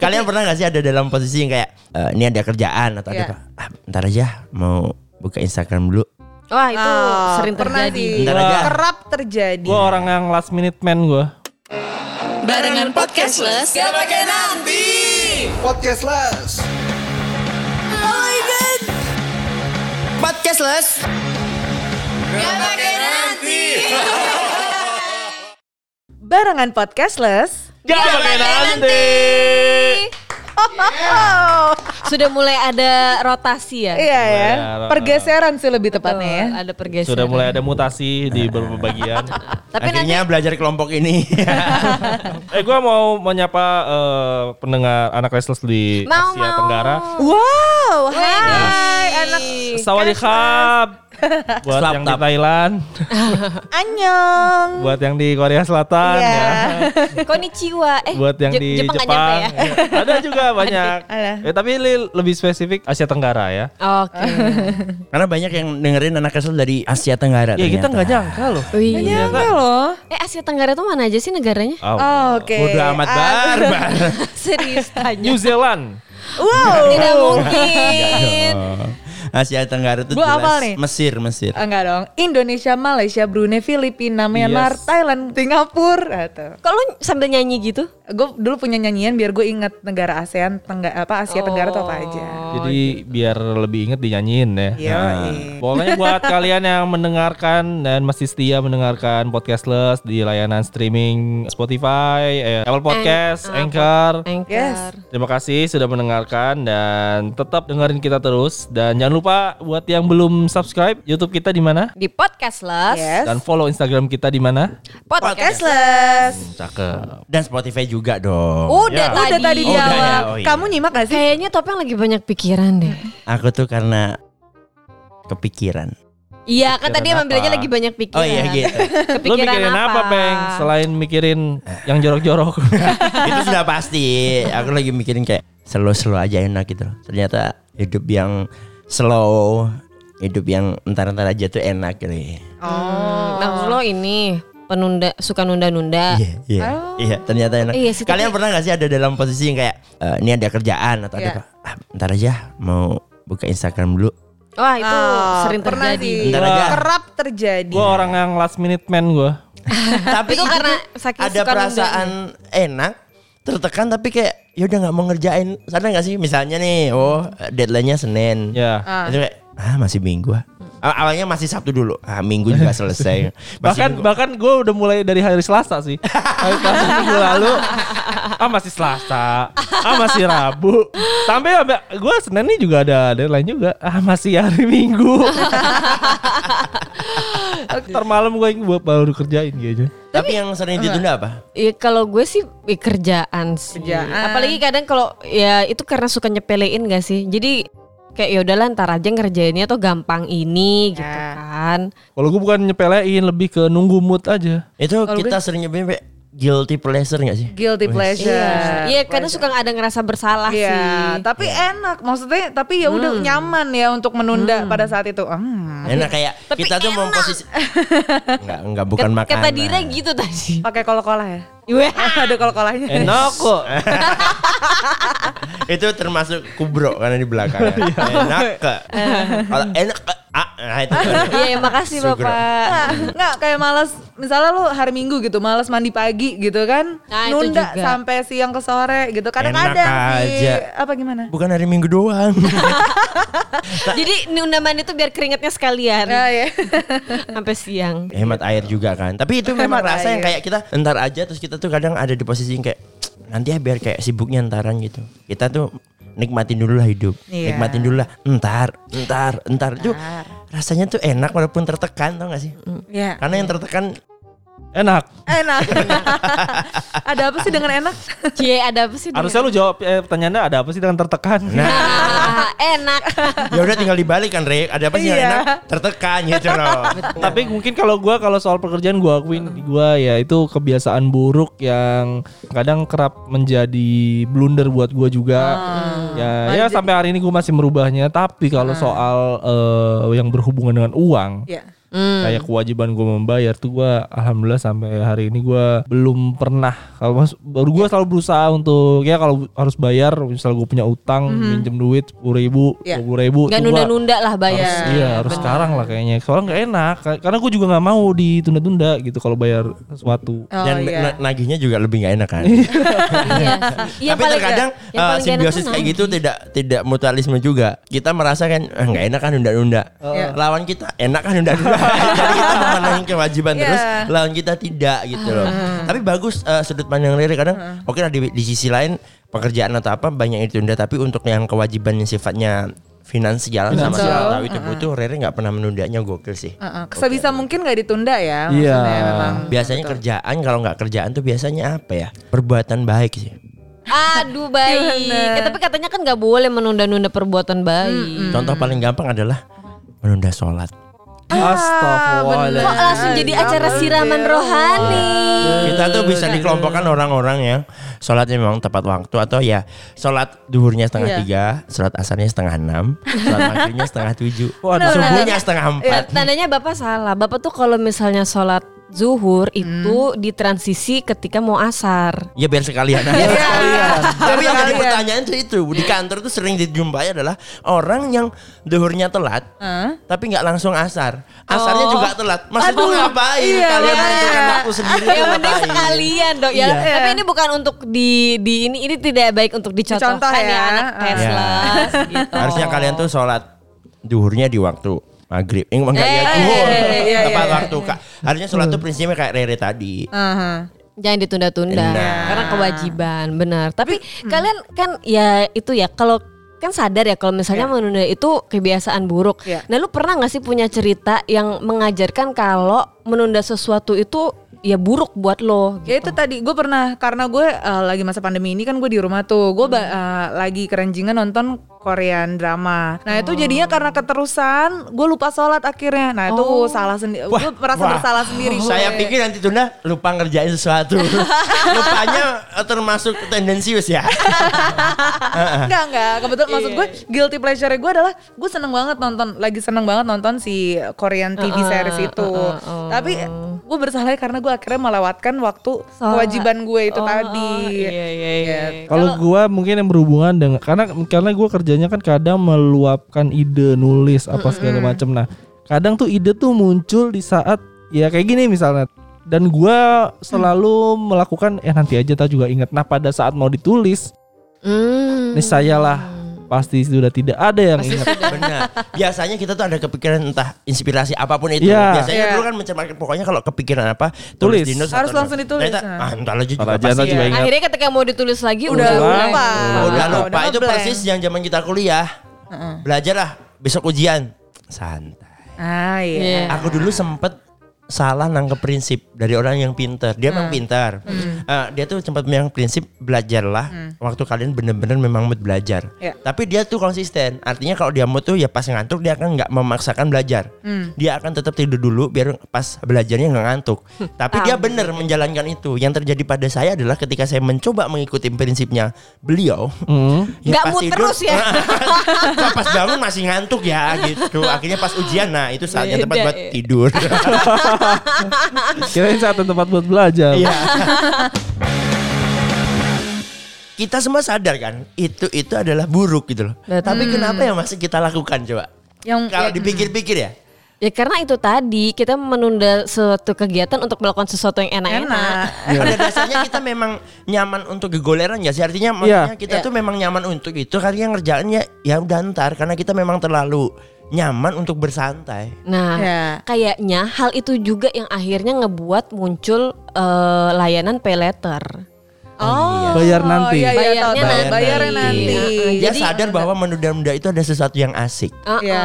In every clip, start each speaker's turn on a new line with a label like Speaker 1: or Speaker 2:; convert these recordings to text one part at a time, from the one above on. Speaker 1: Kalian pernah gak sih ada dalam posisi yang kayak eh, ini ada kerjaan atau
Speaker 2: Iya.
Speaker 1: ada apa? Ah, ntar aja mau buka Instagram dulu.
Speaker 3: Wah itu
Speaker 2: Ah,
Speaker 3: sering
Speaker 2: pernah
Speaker 3: terjadi.
Speaker 2: sih.
Speaker 1: Ntar aja.
Speaker 2: Kerap terjadi.
Speaker 1: Iya.
Speaker 4: Gue orang yang last minute man gue.
Speaker 5: Barengan podcastless Gak pakai nanti
Speaker 6: Podcastless.
Speaker 1: Podcastless.
Speaker 5: Gak pakai nanti
Speaker 2: Barengan podcastless.
Speaker 4: Gak pakai nanti.
Speaker 2: Oh,
Speaker 3: Sudah mulai ada rotasi ya.
Speaker 2: iya ya. Pergeseran sih lebih
Speaker 3: Betul,
Speaker 2: tepatnya ya.
Speaker 3: Ada pergeseran.
Speaker 4: Sudah mulai ada mutasi di beberapa bagian.
Speaker 3: Tapi nanti
Speaker 1: Akhirnya belajar kelompok ini.
Speaker 4: eh gue mau menyapa eh, pendengar anak restless di
Speaker 3: Mau,
Speaker 4: Asia
Speaker 3: mau.
Speaker 4: Tenggara.
Speaker 2: Wow, hai anak
Speaker 4: Sawadikap buat
Speaker 1: Slap
Speaker 4: yang di
Speaker 1: tap.
Speaker 4: Thailand,
Speaker 2: Anyong.
Speaker 4: buat yang di Korea Selatan
Speaker 2: Iya.
Speaker 4: ya.
Speaker 3: Konichiwa. Eh,
Speaker 4: buat yang
Speaker 3: Je-
Speaker 4: di
Speaker 3: Jepang,
Speaker 4: Jepang,
Speaker 3: nggak nyampe ya.
Speaker 4: ada juga banyak.
Speaker 2: Ada.
Speaker 4: Eh, tapi li- lebih spesifik Asia Tenggara ya.
Speaker 3: Oke.
Speaker 1: Karena banyak yang dengerin anak kesel dari Iya, Asia Tenggara.
Speaker 4: Ya kita
Speaker 1: ternyata.
Speaker 4: nggak nyangka loh. Iya kan?
Speaker 3: Wih.
Speaker 2: Nyampe loh.
Speaker 3: Eh Asia Tenggara tuh mana aja sih negaranya?
Speaker 4: Oh.
Speaker 2: Oh, Oke.
Speaker 1: Bodo amat
Speaker 2: Ah,
Speaker 1: barbar.
Speaker 3: Serius
Speaker 4: New
Speaker 3: tanya. Oh.
Speaker 4: Zealand.
Speaker 2: Wow.
Speaker 3: Tidak mungkin.
Speaker 1: Oh. Asia Tenggara tuh
Speaker 2: Gua
Speaker 1: jelas
Speaker 2: hafal nih.
Speaker 1: Mesir, Mesir.
Speaker 2: Oh, Enggak dong. Indonesia, Malaysia, Brunei, Filipina, Myanmar,
Speaker 4: Yes.
Speaker 2: Thailand, Singapura. Atau.
Speaker 3: Kok lu sambil nyanyi gitu?
Speaker 2: Gue dulu punya nyanyian biar gue inget negara ASEAN, tengga, apa Asia Tenggara tuh apa aja.
Speaker 4: Jadi biar lebih inget dinyanyiin ya.
Speaker 2: Iya.
Speaker 4: Pokoknya buat kalian yang mendengarkan dan masih setia mendengarkan podcastless di layanan streaming Spotify, eh, Apple Podcast, Anchor.
Speaker 3: Anchor.
Speaker 2: Yes.
Speaker 4: Terima kasih sudah mendengarkan dan tetap dengerin kita terus dan jangan lupa buat yang belum subscribe YouTube kita di mana
Speaker 3: Di podcast lah.
Speaker 2: Yes.
Speaker 4: dan follow Instagram kita di mana?
Speaker 3: Podcast.
Speaker 2: Podcastless.
Speaker 4: Cakep.
Speaker 1: Dan Spotify juga dong.
Speaker 3: Udah,
Speaker 4: Ya.
Speaker 3: tadi.
Speaker 2: Udah tadi di
Speaker 1: Oh, udah ya,
Speaker 2: awal.
Speaker 1: oh iya.
Speaker 2: Kamu nyimak gak sih?
Speaker 3: Kayaknya Topeng lagi banyak pikiran deh.
Speaker 1: Aku tuh karena kepikiran.
Speaker 3: Iya kan tadi
Speaker 4: Pikiran
Speaker 3: emang bilangnya
Speaker 4: apa?
Speaker 3: lagi banyak pikiran.
Speaker 1: Oh iya gitu.
Speaker 3: Kepikiran
Speaker 4: Lu mikirin apa, Peng? Selain mikirin yang jorok-jorok.
Speaker 1: itu sudah pasti. Aku lagi mikirin kayak slow-slow aja enak gitu. loh. Ternyata hidup yang slow, hidup yang entar-entar aja tuh enak gitu. ya.
Speaker 2: Oh.
Speaker 3: Hmm, Maksud lo ini penunda suka nunda-nunda.
Speaker 1: Iya, iya, iya. Ternyata enak.
Speaker 3: Oh. Iya sih,
Speaker 1: Kalian
Speaker 3: tapi-
Speaker 1: pernah gak sih ada dalam posisi yang kayak eh, ini ada kerjaan atau
Speaker 2: Iya.
Speaker 1: ada apa? Ah, ntar aja mau buka Instagram dulu.
Speaker 3: Wah itu
Speaker 2: Ah,
Speaker 3: sering
Speaker 2: pernah
Speaker 3: terjadi.
Speaker 2: sih.
Speaker 1: Ntar aja.
Speaker 2: Kerap terjadi.
Speaker 4: gua orang yang last minute man gua.
Speaker 1: tapi
Speaker 3: Itu karena saking
Speaker 1: ada
Speaker 3: suka
Speaker 1: perasaan enak tertekan tapi kayak ya udah nggak mau ngerjain sadar nggak sih misalnya nih oh deadline-nya Senin
Speaker 4: Ya.
Speaker 1: itu kayak ah masih minggu ah
Speaker 3: Mm.
Speaker 1: Aw- awalnya masih Sabtu dulu ah minggu juga selesai Masih
Speaker 4: bahkan
Speaker 1: minggu.
Speaker 4: bahkan gue udah mulai dari hari Selasa sih hari Selasa minggu lalu ah masih Selasa ah masih Rabu sampai gue Senin ini juga ada deadline juga ah masih hari Minggu ntar malam gue yang buat baru kerjain gitu
Speaker 1: tapi yang sering ditunda apa
Speaker 3: Iya kalau gue sih ya, kerjaan sih.
Speaker 2: Kerjaan.
Speaker 3: Apalagi kadang kalau ya itu karena suka nyepelein gak sih. Jadi kayak yaudah lah ntar aja ngerjainnya tuh gampang ini gitu
Speaker 2: Ya.
Speaker 3: kan.
Speaker 4: kalau gue bukan nyepelein lebih ke nunggu mood aja
Speaker 1: itu kita sering nyebutnya kayak guilty pleasure nggak sih
Speaker 2: Guilty pleasure.
Speaker 3: Iya karena suka ada ngerasa bersalah
Speaker 2: Iya,
Speaker 3: sih.
Speaker 2: tapi enak. Maksudnya, tapi ya udah nyaman ya untuk menunda pada saat itu. Hmm.
Speaker 1: enak kayak
Speaker 3: Tapi
Speaker 1: kita tuh mau
Speaker 3: enak.
Speaker 1: posisi nggak nggak bukan nah. makanan
Speaker 3: Ket- Kata Dira gitu tadi. Iya,
Speaker 2: Pakai kol-kolah ya?
Speaker 3: Wah.
Speaker 2: Ada kol-kolahnya.
Speaker 4: enak kok
Speaker 1: itu termasuk kubro karena di belakang enak ke kalau enak ke ah, nah itu
Speaker 3: Iya makasih
Speaker 1: Sugro.
Speaker 3: bapak.
Speaker 2: Enggak kayak malas misalnya lu hari Minggu gitu malas mandi pagi gitu kan
Speaker 3: Nah, itu
Speaker 2: nunda
Speaker 3: juga.
Speaker 2: sampai siang ke sore gitu kadang-kadang
Speaker 1: Enak
Speaker 2: sih
Speaker 1: aja.
Speaker 2: apa gimana
Speaker 1: bukan hari minggu doang Nah.
Speaker 3: Jadi nunda mandi tuh biar keringatnya sekalian
Speaker 2: ya, ya.
Speaker 3: sampai siang.
Speaker 1: hemat air juga kan tapi itu memang
Speaker 2: Iya. Hemat
Speaker 1: rasa yang
Speaker 2: air.
Speaker 1: kayak kita entar aja terus kita tuh kadang ada di posisi yang kayak "Cuk, nanti ya biar kayak sibuknya entaran gitu kita tuh nikmatin dulu lah hidup
Speaker 2: Iya.
Speaker 1: nikmatin dulu lah entar entar entar itu rasanya tuh enak walaupun tertekan tau gak sih
Speaker 2: ya.
Speaker 1: karena yang tertekan
Speaker 4: enak
Speaker 2: enak ada apa sih dengan enak
Speaker 3: Cie ada apa sih?
Speaker 4: harusnya lu jawab eh, pertanyaannya ada apa sih dengan tertekan
Speaker 3: Ah, enak.
Speaker 1: nah, ya udah tinggal dibalik kan Rek ada apa sih yang
Speaker 2: Iya.
Speaker 1: enak tertekan gitu loh
Speaker 4: Tapi mungkin kalau gua kalau soal pekerjaan gua akuin gua ya itu kebiasaan buruk yang kadang kerap menjadi blunder buat gua juga. ya ya
Speaker 1: Iya.
Speaker 4: sampai hari ini gua masih merubahnya. Tapi kalau soal eh, yang berhubungan dengan uang,
Speaker 2: ya
Speaker 4: Kayak kewajiban gue membayar tuh gue alhamdulillah sampai hari ini gue belum pernah kalau mas baru gue selalu berusaha untuk ya kalau harus bayar misal gue punya utang minjem duit sepuluh ribu
Speaker 2: Iya.
Speaker 4: dua ribu
Speaker 3: Gak
Speaker 4: tuh gua-
Speaker 3: nunda-nunda lah bayar.
Speaker 4: harus, iya harus sekarang lah kayaknya soalnya nggak enak Ka- karena gue juga nggak mau ditunda-tunda gitu kalau bayar sesuatu
Speaker 2: Oh,
Speaker 1: Dan
Speaker 2: iya.
Speaker 1: na- nagihnya juga lebih nggak enak kan.
Speaker 3: Iya. Iya,
Speaker 1: Tapi
Speaker 3: paling-
Speaker 1: terkadang
Speaker 3: yang
Speaker 1: eh,
Speaker 3: paling gak enak
Speaker 1: simbiosis
Speaker 3: tuh
Speaker 1: kayak gitu tidak tidak mutualisme juga. Kita merasa kan "Ah, nggak enak kan nunda-nunda.
Speaker 3: Iya.
Speaker 1: Lawan kita enak kan nunda-nunda. Jadi kita memenuhi kewajiban
Speaker 2: Iya.
Speaker 1: terus lawan kita tidak gitu loh. Tapi bagus eh, sudut pandang Riri kadang oke lah di, di sisi lain pekerjaan atau apa banyak yang ditunda tapi untuk yang kewajiban yang sifatnya finansial sama
Speaker 4: Finansial.
Speaker 1: sama tahu itu butuh Riri nggak pernah menundanya gokil sih.
Speaker 2: Heeh, sebisa mungkin nggak ditunda ya
Speaker 4: Iya.
Speaker 2: maksudnya memang.
Speaker 1: Biasanya kerjaan kalau nggak kerjaan tuh biasanya apa ya? Perbuatan baik sih.
Speaker 3: Aduh baik.
Speaker 2: Gimana?
Speaker 3: Eh, tapi katanya kan nggak boleh menunda-nunda perbuatan baik.
Speaker 1: Contoh paling gampang adalah menunda sholat.
Speaker 4: Astagfirullah
Speaker 3: Kok langsung jadi acara siraman rohani?
Speaker 1: Kita tuh bisa dikelompokkan orang-orang yang sholatnya memang tepat waktu atau ya sholat duhurnya setengah
Speaker 2: Iya.
Speaker 1: tiga, sholat asarnya setengah enam, sholat maghribnya setengah tujuh,
Speaker 4: Waduh.
Speaker 1: subuhnya setengah empat.
Speaker 3: Ya, Tandanya bapak salah. Bapak tuh kalau misalnya sholat zuhur itu di transisi ketika mau asar.
Speaker 1: Ya biar sekalian aja. Tapi yang jadi pertanyaan tuh itu di kantor tuh sering dijumpai adalah orang yang duhurnya telat, tapi nggak langsung asar, asarnya juga telat. Maksud lu ngapain? Kalian menentukan waktu sendiri.
Speaker 3: Ya
Speaker 1: ngapain?
Speaker 3: mending sekalian dok ya.
Speaker 1: Iya.
Speaker 3: Tapi ini bukan untuk di di ini ini tidak baik untuk dicontohkan
Speaker 2: Dicontoh
Speaker 3: ya.
Speaker 2: ya.
Speaker 3: anak
Speaker 2: Ah.
Speaker 3: Tesla. gitu.
Speaker 1: Iya. Harusnya kalian tuh sholat duhurnya di waktu maghrib. Eh, enggak ya,
Speaker 3: Eh,
Speaker 1: duhur.
Speaker 2: iya, iya, iya,
Speaker 1: Tepat
Speaker 2: iya.
Speaker 1: waktu, Kak. Harusnya sholat
Speaker 4: Hmm.
Speaker 1: tuh prinsipnya kayak Rere tadi.
Speaker 2: Aha.
Speaker 3: Jangan ditunda-tunda
Speaker 1: Benar.
Speaker 3: karena kewajiban, benar. Tapi kalian kan ya itu ya kalau kan sadar ya kalau misalnya menunda itu kebiasaan buruk.
Speaker 2: Iya.
Speaker 3: Nah, lu pernah nggak sih punya cerita yang mengajarkan kalau menunda sesuatu itu ya buruk buat lo?
Speaker 2: Ya itu tadi gue pernah karena gue eh, lagi masa pandemi ini kan gue di rumah tuh gue
Speaker 1: Hmm.
Speaker 2: ba- eh, lagi keranjingan nonton Korean drama. Nah itu jadinya
Speaker 1: Oh.
Speaker 2: karena keterusan gue lupa sholat akhirnya. Nah itu salah sendiri. Gue merasa
Speaker 1: Wah,
Speaker 2: bersalah sendiri.
Speaker 1: Oh. Saya
Speaker 2: gue.
Speaker 1: pikir nanti tunda lupa ngerjain sesuatu. Lupanya eh, termasuk tendensius ya.
Speaker 2: Enggak enggak kebetulan
Speaker 3: Iya,
Speaker 2: maksud gue guilty pleasure gue adalah gue seneng banget nonton lagi seneng banget nonton si Korean TV series itu tapi gue bersalah karena gue akhirnya melewatkan waktu kewajiban gue itu tadi
Speaker 3: Oh, Iya, iya, iya.
Speaker 4: Kalau gua mungkin yang berhubungan dengan karena karena gua kerjanya kan kadang meluapkan ide nulis apa segala macam. Nah, kadang tuh ide tuh muncul di saat ya kayak gini misalnya. Dan gua selalu melakukan eh nanti aja tak juga ingat. Nah, pada saat mau ditulis,
Speaker 3: Hmm.
Speaker 4: nih sayalah pasti sudah tidak ada yang
Speaker 2: Iya,
Speaker 4: ingat.
Speaker 1: Benar. Biasanya kita tuh ada kepikiran entah inspirasi apapun itu.
Speaker 4: Iya.
Speaker 1: Biasanya
Speaker 2: Iya.
Speaker 1: dulu kan mencemarkan pokoknya kalau kepikiran apa tulis,
Speaker 4: Tulis.
Speaker 1: di notes
Speaker 2: Harus
Speaker 1: atau-
Speaker 2: langsung ditulis,
Speaker 1: Ternyata, ah,
Speaker 2: nah.
Speaker 1: entar aja juga
Speaker 4: Ntar aja,
Speaker 1: pasti
Speaker 4: ntar juga ingat.
Speaker 3: Hmm. Akhirnya ketika mau ditulis lagi udah
Speaker 2: udah
Speaker 4: Udah
Speaker 2: lupa
Speaker 1: Oh, udah lupa itu
Speaker 2: ngeblank.
Speaker 1: persis yang zaman kita kuliah. Belajarlah besok ujian. Santai.
Speaker 2: ah iya
Speaker 3: Iya.
Speaker 1: Aku dulu sempet salah nangkep prinsip dari orang yang pinter. Dia
Speaker 3: Hmm.
Speaker 1: memang pintar. Eh, dia tuh sempat memang prinsip belajarlah
Speaker 3: Hmm.
Speaker 1: waktu kalian bener-bener memang mood belajar.
Speaker 3: Ya.
Speaker 2: Iya.
Speaker 1: Tapi dia tuh konsisten. Artinya kalau dia mood tuh ya pas ngantuk dia akan nggak memaksakan belajar.
Speaker 3: Hmm.
Speaker 1: Dia akan tetap tidur dulu biar pas belajarnya nggak ngantuk. Tapi dia bener menjalankan itu. Yang terjadi pada saya adalah ketika saya mencoba mengikuti prinsipnya beliau.
Speaker 3: Nggak
Speaker 1: pas
Speaker 3: mood
Speaker 1: tidur,
Speaker 3: terus ya?
Speaker 1: Kok pas bangun masih ngantuk ya gitu. Akhirnya pas ujian nah itu saatnya tepat
Speaker 3: Beda,
Speaker 1: buat
Speaker 3: iya.
Speaker 1: tidur.
Speaker 4: Kirain saat dan tempat buat belajar.
Speaker 1: Iya. kita semua sadar kan itu itu adalah buruk gitu loh.
Speaker 3: Betul. Hmm.
Speaker 1: Tapi kenapa yang masih kita lakukan coba?
Speaker 2: yang
Speaker 1: Kalau dipikir-pikir ya.
Speaker 3: Ya karena itu tadi kita menunda suatu kegiatan untuk melakukan sesuatu yang enak-enak.
Speaker 2: enak
Speaker 1: Pada dasarnya kita memang nyaman untuk gegoleran ya sih
Speaker 3: Iya.
Speaker 1: artinya maksudnya kita tuh memang nyaman untuk itu karena ngerjaannya ya udah ntar karena kita memang terlalu nyaman untuk bersantai.
Speaker 3: Nah,
Speaker 2: Ya.
Speaker 3: kayaknya hal itu juga yang akhirnya ngebuat muncul eh, layanan pay letter.
Speaker 2: oh
Speaker 4: Bayar nanti.
Speaker 2: iya, iya, tahu,
Speaker 3: Bayarnya
Speaker 2: tahu.
Speaker 1: nanti.
Speaker 2: bayarnya nanti
Speaker 3: Iya.
Speaker 1: Dia
Speaker 3: Jadi-
Speaker 1: sadar bahwa menunda-nunda itu ada sesuatu yang asik.
Speaker 3: Uh-uh.
Speaker 2: Iya.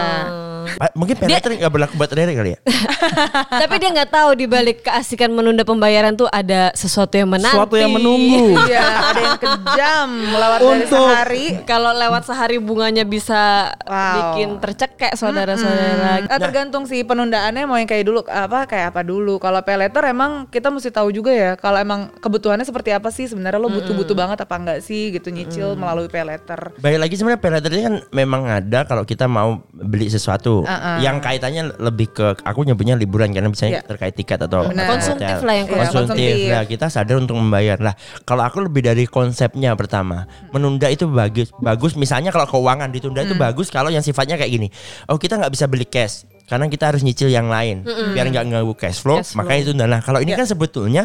Speaker 1: Pa- Mungkin penetri nggak berlaku buat Rere kali ya.
Speaker 3: Tapi dia nggak tahu di balik keasikan menunda pembayaran tuh ada sesuatu yang menanti.
Speaker 4: Sesuatu yang menunggu.
Speaker 2: Iya, ada yang kejam lewat dari
Speaker 4: Untuk-
Speaker 2: sehari
Speaker 3: Kalau lewat sehari bunganya bisa
Speaker 2: Wow.
Speaker 3: bikin tercekek saudara-saudara.
Speaker 2: Eh, tergantung sih penundaannya mau yang kayak dulu apa kayak apa dulu. Kalau pay letter emang kita mesti tahu juga ya kalau emang kebutuhannya seperti apa sih sebenarnya lo butuh-butuh banget apa enggak sih gitu nyicil melalui pay letter.
Speaker 1: Baik lagi sebenarnya pay letter ini kan memang ada kalau kita mau beli sesuatu itu.
Speaker 2: Uh-uh.
Speaker 1: Yang kaitannya lebih ke aku nyebutnya liburan karena biasanya
Speaker 2: Iya.
Speaker 1: terkait tiket atau hotel.
Speaker 2: Benar.
Speaker 3: Konsumtif lah yang
Speaker 2: Iya,
Speaker 1: konsumtif.
Speaker 2: konsumtif.
Speaker 1: Nah, kita sadar untuk membayar. Lah, kalau aku lebih dari konsepnya pertama,
Speaker 3: Hmm.
Speaker 1: menunda itu bagus. Bagus misalnya kalau keuangan ditunda itu bagus kalau yang sifatnya kayak gini. Oh, kita nggak bisa beli cash karena kita harus nyicil yang lain biar nggak ganggu cash flow,
Speaker 3: Hmm. Cash flow. Iya.
Speaker 1: makanya itu Nah, kalau ini kan sebetulnya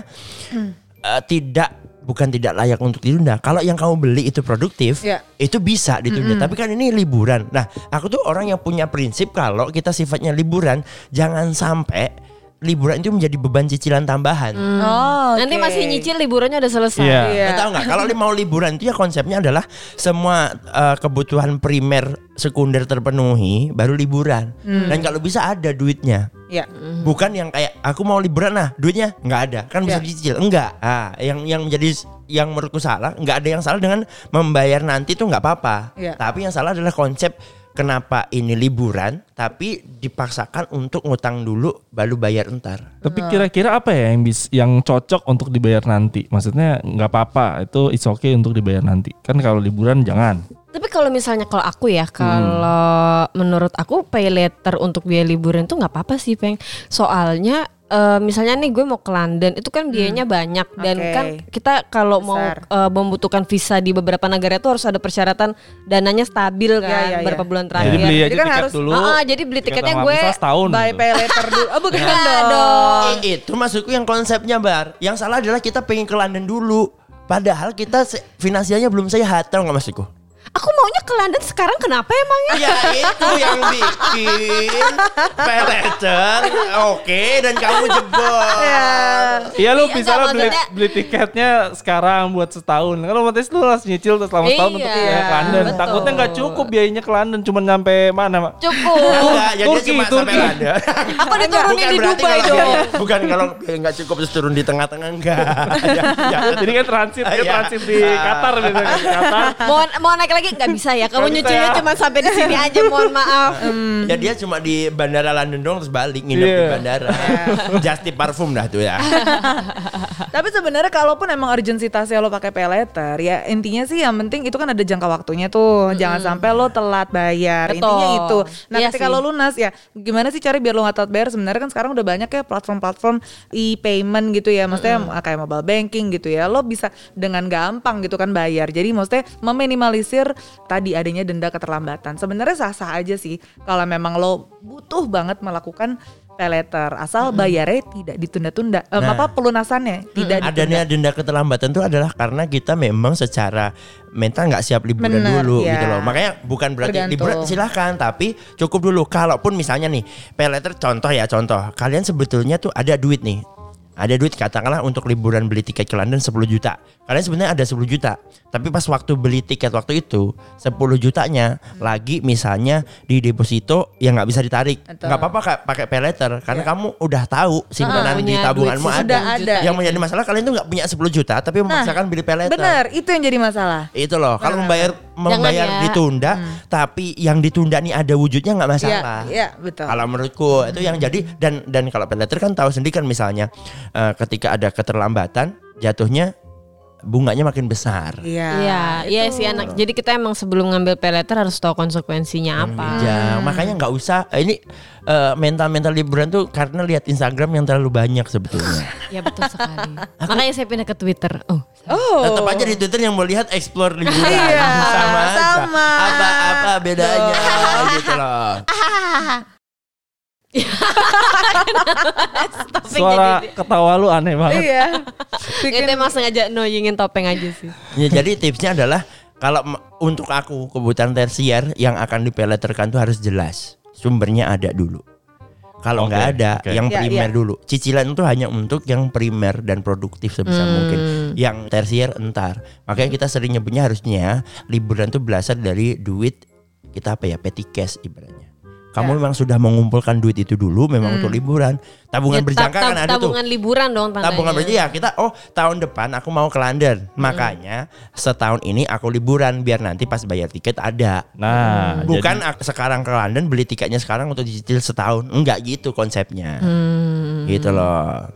Speaker 1: eh, tidak bukan tidak layak untuk ditunda. Kalau yang kamu beli itu produktif,
Speaker 2: Iya.
Speaker 1: itu bisa ditunda. Tapi kan ini liburan. Nah, aku tuh orang yang punya prinsip kalau kita sifatnya liburan, jangan sampai liburan itu menjadi beban cicilan tambahan.
Speaker 3: Mm,
Speaker 2: Oh,
Speaker 3: Hmm. Nanti
Speaker 2: oke.
Speaker 3: masih nyicil liburannya udah selesai.
Speaker 4: Iya.
Speaker 2: Iya.
Speaker 1: Nah, tahu nggak? Kalau li- mau liburan itu ya konsepnya adalah semua eh, kebutuhan primer, sekunder terpenuhi, baru liburan. Dan kalau bisa ada duitnya.
Speaker 2: Iya.
Speaker 1: Hmm. Bukan yang kayak aku mau liburan nah duitnya nggak ada kan bisa
Speaker 2: Ya.
Speaker 1: dicicil enggak ah yang yang menjadi s- yang menurutku salah nggak ada yang salah dengan membayar nanti tuh nggak apa-apa
Speaker 2: Ya.
Speaker 1: tapi yang salah adalah konsep kenapa ini liburan tapi dipaksakan untuk ngutang dulu baru bayar entar
Speaker 4: Tapi kira-kira apa ya yang bis, yang cocok untuk dibayar nanti? Maksudnya nggak apa-apa, itu it's okay untuk dibayar nanti. Kan kalau liburan jangan.
Speaker 3: Tapi kalau misalnya kalau aku ya,
Speaker 2: Hmm.
Speaker 3: kalau menurut aku pay later untuk biaya liburan tuh nggak apa-apa sih, Peng. Soalnya eh, misalnya nih gue mau ke London, itu kan biayanya banyak dan
Speaker 2: Hmm. Oke.
Speaker 3: kan kita kalau mau
Speaker 2: Besar.
Speaker 3: eh, membutuhkan visa di beberapa negara itu harus ada persyaratan dananya stabil kan
Speaker 2: Ya, ya, ya.
Speaker 3: berapa bulan
Speaker 4: Jadi
Speaker 3: terakhir.
Speaker 4: beli
Speaker 2: Jadi
Speaker 4: aja
Speaker 2: kan
Speaker 4: tiket
Speaker 2: harus-
Speaker 4: dulu.
Speaker 3: Ah, jadi beli tiketnya
Speaker 4: sama
Speaker 3: gue
Speaker 4: misal setahun.
Speaker 2: By
Speaker 4: gitu.
Speaker 2: pay letter dulu. Oh, bukan
Speaker 3: Nggak
Speaker 2: dong.
Speaker 3: Iya
Speaker 2: Oh.
Speaker 3: dong.
Speaker 1: Eh, itu maksudku yang konsepnya bar. Yang salah adalah kita pengen ke London dulu. Padahal kita se- finansialnya belum sehat, tau nggak maksudku?
Speaker 3: Aku maunya ke London sekarang kenapa emangnya?
Speaker 1: Ya itu yang bikin peleter, oke, dan kamu jebol.
Speaker 4: Iya lu
Speaker 3: Iya,
Speaker 4: bisa
Speaker 3: nggak,
Speaker 4: lah beli,
Speaker 3: maksudnya-
Speaker 4: beli tiketnya sekarang buat setahun. Kalau otomatis lu harus nyicil terus selama setahun untuk
Speaker 3: Iya,
Speaker 4: biaya ke London.
Speaker 3: betul.
Speaker 4: Takutnya nggak cukup biayanya ke London cuma nyampe mana, Mak?
Speaker 3: Cukup.
Speaker 1: Enggak, ya dia
Speaker 4: Turki,
Speaker 1: cuma sampai
Speaker 4: Turki.
Speaker 1: London.
Speaker 3: Aku diturunin
Speaker 1: Bukan
Speaker 3: di
Speaker 1: berarti
Speaker 3: Dubai
Speaker 1: kalau-
Speaker 3: dong.
Speaker 1: Bukan kalau dia nggak cukup terus turun di tengah-tengah enggak. Ya, ya.
Speaker 4: Jadi kan transit, dia
Speaker 1: Iya.
Speaker 4: transit di Qatar biasanya di Qatar.
Speaker 3: mau mau naik lagi nggak bisa ya kamu
Speaker 4: Nggak bisa
Speaker 3: nyucinya
Speaker 4: ya.
Speaker 3: cuma sampai di sini aja mohon maaf
Speaker 1: Ya dia cuma di bandara London dong terus balik nginep di
Speaker 4: Iya.
Speaker 1: bandara. Just tip parfum dah tuh ya.
Speaker 2: Tapi sebenarnya kalaupun emang urgensitasnya lo pakai pay letter, ya intinya sih yang penting itu kan ada jangka waktunya tuh. Jangan sampai lo telat bayar.
Speaker 3: Betul.
Speaker 2: Intinya itu. Nah,
Speaker 3: Iya
Speaker 2: ketika
Speaker 3: sih.
Speaker 2: lo lunas ya, gimana sih cara biar lo gak telat bayar? Sebenarnya kan sekarang udah banyak ya platform-platform e-payment gitu ya. Maksudnya
Speaker 1: Hmm.
Speaker 2: kayak mobile banking gitu ya. Lo bisa dengan gampang gitu kan bayar. Jadi maksudnya meminimalisir tadi adanya denda keterlambatan. Sebenarnya sah-sah aja sih kalau memang lo butuh banget melakukan pay letter asal bayarnya tidak ditunda-tunda. Eh,
Speaker 1: Hmm. Nah.
Speaker 2: apa pelunasannya tidak ditunda.
Speaker 1: adanya denda keterlambatan itu adalah karena kita memang secara mental nggak siap liburan
Speaker 2: Benar,
Speaker 1: dulu
Speaker 2: ya.
Speaker 1: gitu loh makanya bukan berarti
Speaker 2: Tergantung.
Speaker 1: liburan silahkan tapi cukup dulu kalaupun misalnya nih pay letter contoh ya contoh kalian sebetulnya tuh ada duit nih ada duit katakanlah untuk liburan beli tiket ke London 10 juta. Kalian sebenarnya ada 10 juta. Tapi pas waktu beli tiket waktu itu 10 jutanya lagi misalnya di deposito yang nggak bisa ditarik.
Speaker 2: Betul. Iya.
Speaker 1: nggak apa-apa Kak, pakai pay letter karena kamu udah tahu
Speaker 2: Ah,
Speaker 1: simpanan di
Speaker 3: punya duit
Speaker 1: tabunganmu
Speaker 3: sih,
Speaker 1: ada.
Speaker 2: sudah ada.
Speaker 1: Yang menjadi masalah kalian tuh nggak punya 10 juta tapi
Speaker 2: Nah,
Speaker 1: memaksakan beli pay letter.
Speaker 2: Benar, itu yang jadi masalah.
Speaker 1: Itu loh, kalau
Speaker 2: Nah,
Speaker 1: membayar membayar
Speaker 3: ya.
Speaker 1: ditunda, tapi yang ditunda nih ada wujudnya nggak
Speaker 2: Hmm. Iya,
Speaker 1: masalah.
Speaker 2: iya, betul.
Speaker 1: Kalau menurutku itu yang jadi dan dan kalau pay letter kan tahu sendiri kan misalnya eh, ketika ada keterlambatan jatuhnya bunganya makin besar.
Speaker 2: Iya.
Speaker 3: Iya, iya sih anak. Jadi kita emang sebelum ngambil pay letter harus tahu konsekuensinya apa.
Speaker 1: Ya, makanya nggak usah eh, ini mental mental liburan tuh karena lihat Instagram yang terlalu banyak sebetulnya.
Speaker 3: Ya betul sekali. Makanya saya pindah ke Twitter. Oh,
Speaker 2: Oh.
Speaker 1: Tetap aja di Twitter yang mau lihat explore liburan
Speaker 2: Iya,
Speaker 1: sama aja.
Speaker 2: sama.
Speaker 1: Apa-apa bedanya gitu loh.
Speaker 4: Suara ketawa lu aneh banget.
Speaker 2: Iya.
Speaker 3: Itu
Speaker 2: Bikin
Speaker 3: emang sengaja noyingin topeng aja sih.
Speaker 1: Ya, jadi tipsnya adalah kalau m- untuk aku kebutuhan tersier yang akan dipeleterkan itu harus jelas sumbernya ada dulu. Kalau
Speaker 4: Oke,
Speaker 1: nggak ada
Speaker 4: oke.
Speaker 1: yang
Speaker 2: Ya,
Speaker 1: primer
Speaker 2: ya.
Speaker 1: dulu. Cicilan itu hanya untuk yang primer dan produktif sebisa
Speaker 3: Hmm.
Speaker 1: mungkin. Yang tersier entar. Makanya kita sering nyebutnya harusnya liburan tuh berasal dari duit kita apa ya petty cash ibaratnya.
Speaker 3: Ya.
Speaker 1: Kamu memang sudah mengumpulkan duit itu dulu memang untuk liburan. Tabungan
Speaker 3: Hmm. Ya,
Speaker 1: berjangka
Speaker 3: tab-
Speaker 1: kan ada tuh.
Speaker 3: Tabungan liburan dong tandanya.
Speaker 1: Tabungan berarti ya kita oh tahun depan aku mau ke London. Makanya setahun ini aku liburan biar nanti pas bayar tiket ada.
Speaker 4: Nah, jadi-
Speaker 1: Bukan ak- sekarang ke London beli tiketnya sekarang untuk dicicil setahun. Enggak gitu konsepnya. Gitu loh.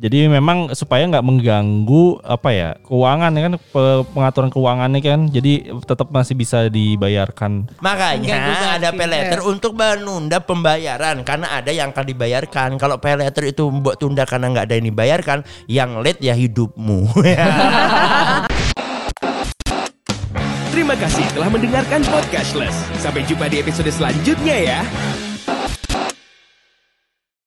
Speaker 4: Jadi memang supaya nggak mengganggu apa ya keuangan ya kan pe- pengaturan keuangannya kan. Jadi tetap masih bisa dibayarkan.
Speaker 2: Mengganggu
Speaker 1: Makanya
Speaker 2: banget
Speaker 1: ada
Speaker 2: sih,
Speaker 1: pay letter
Speaker 2: yes.
Speaker 1: untuk menunda pembayaran karena ada yang akan dibayarkan. Kalau pay letter itu buat tunda karena nggak ada yang dibayarkan, yang late ya hidupmu. Ya.
Speaker 7: Terima kasih telah mendengarkan Podcastless. Sampai jumpa di episode selanjutnya ya.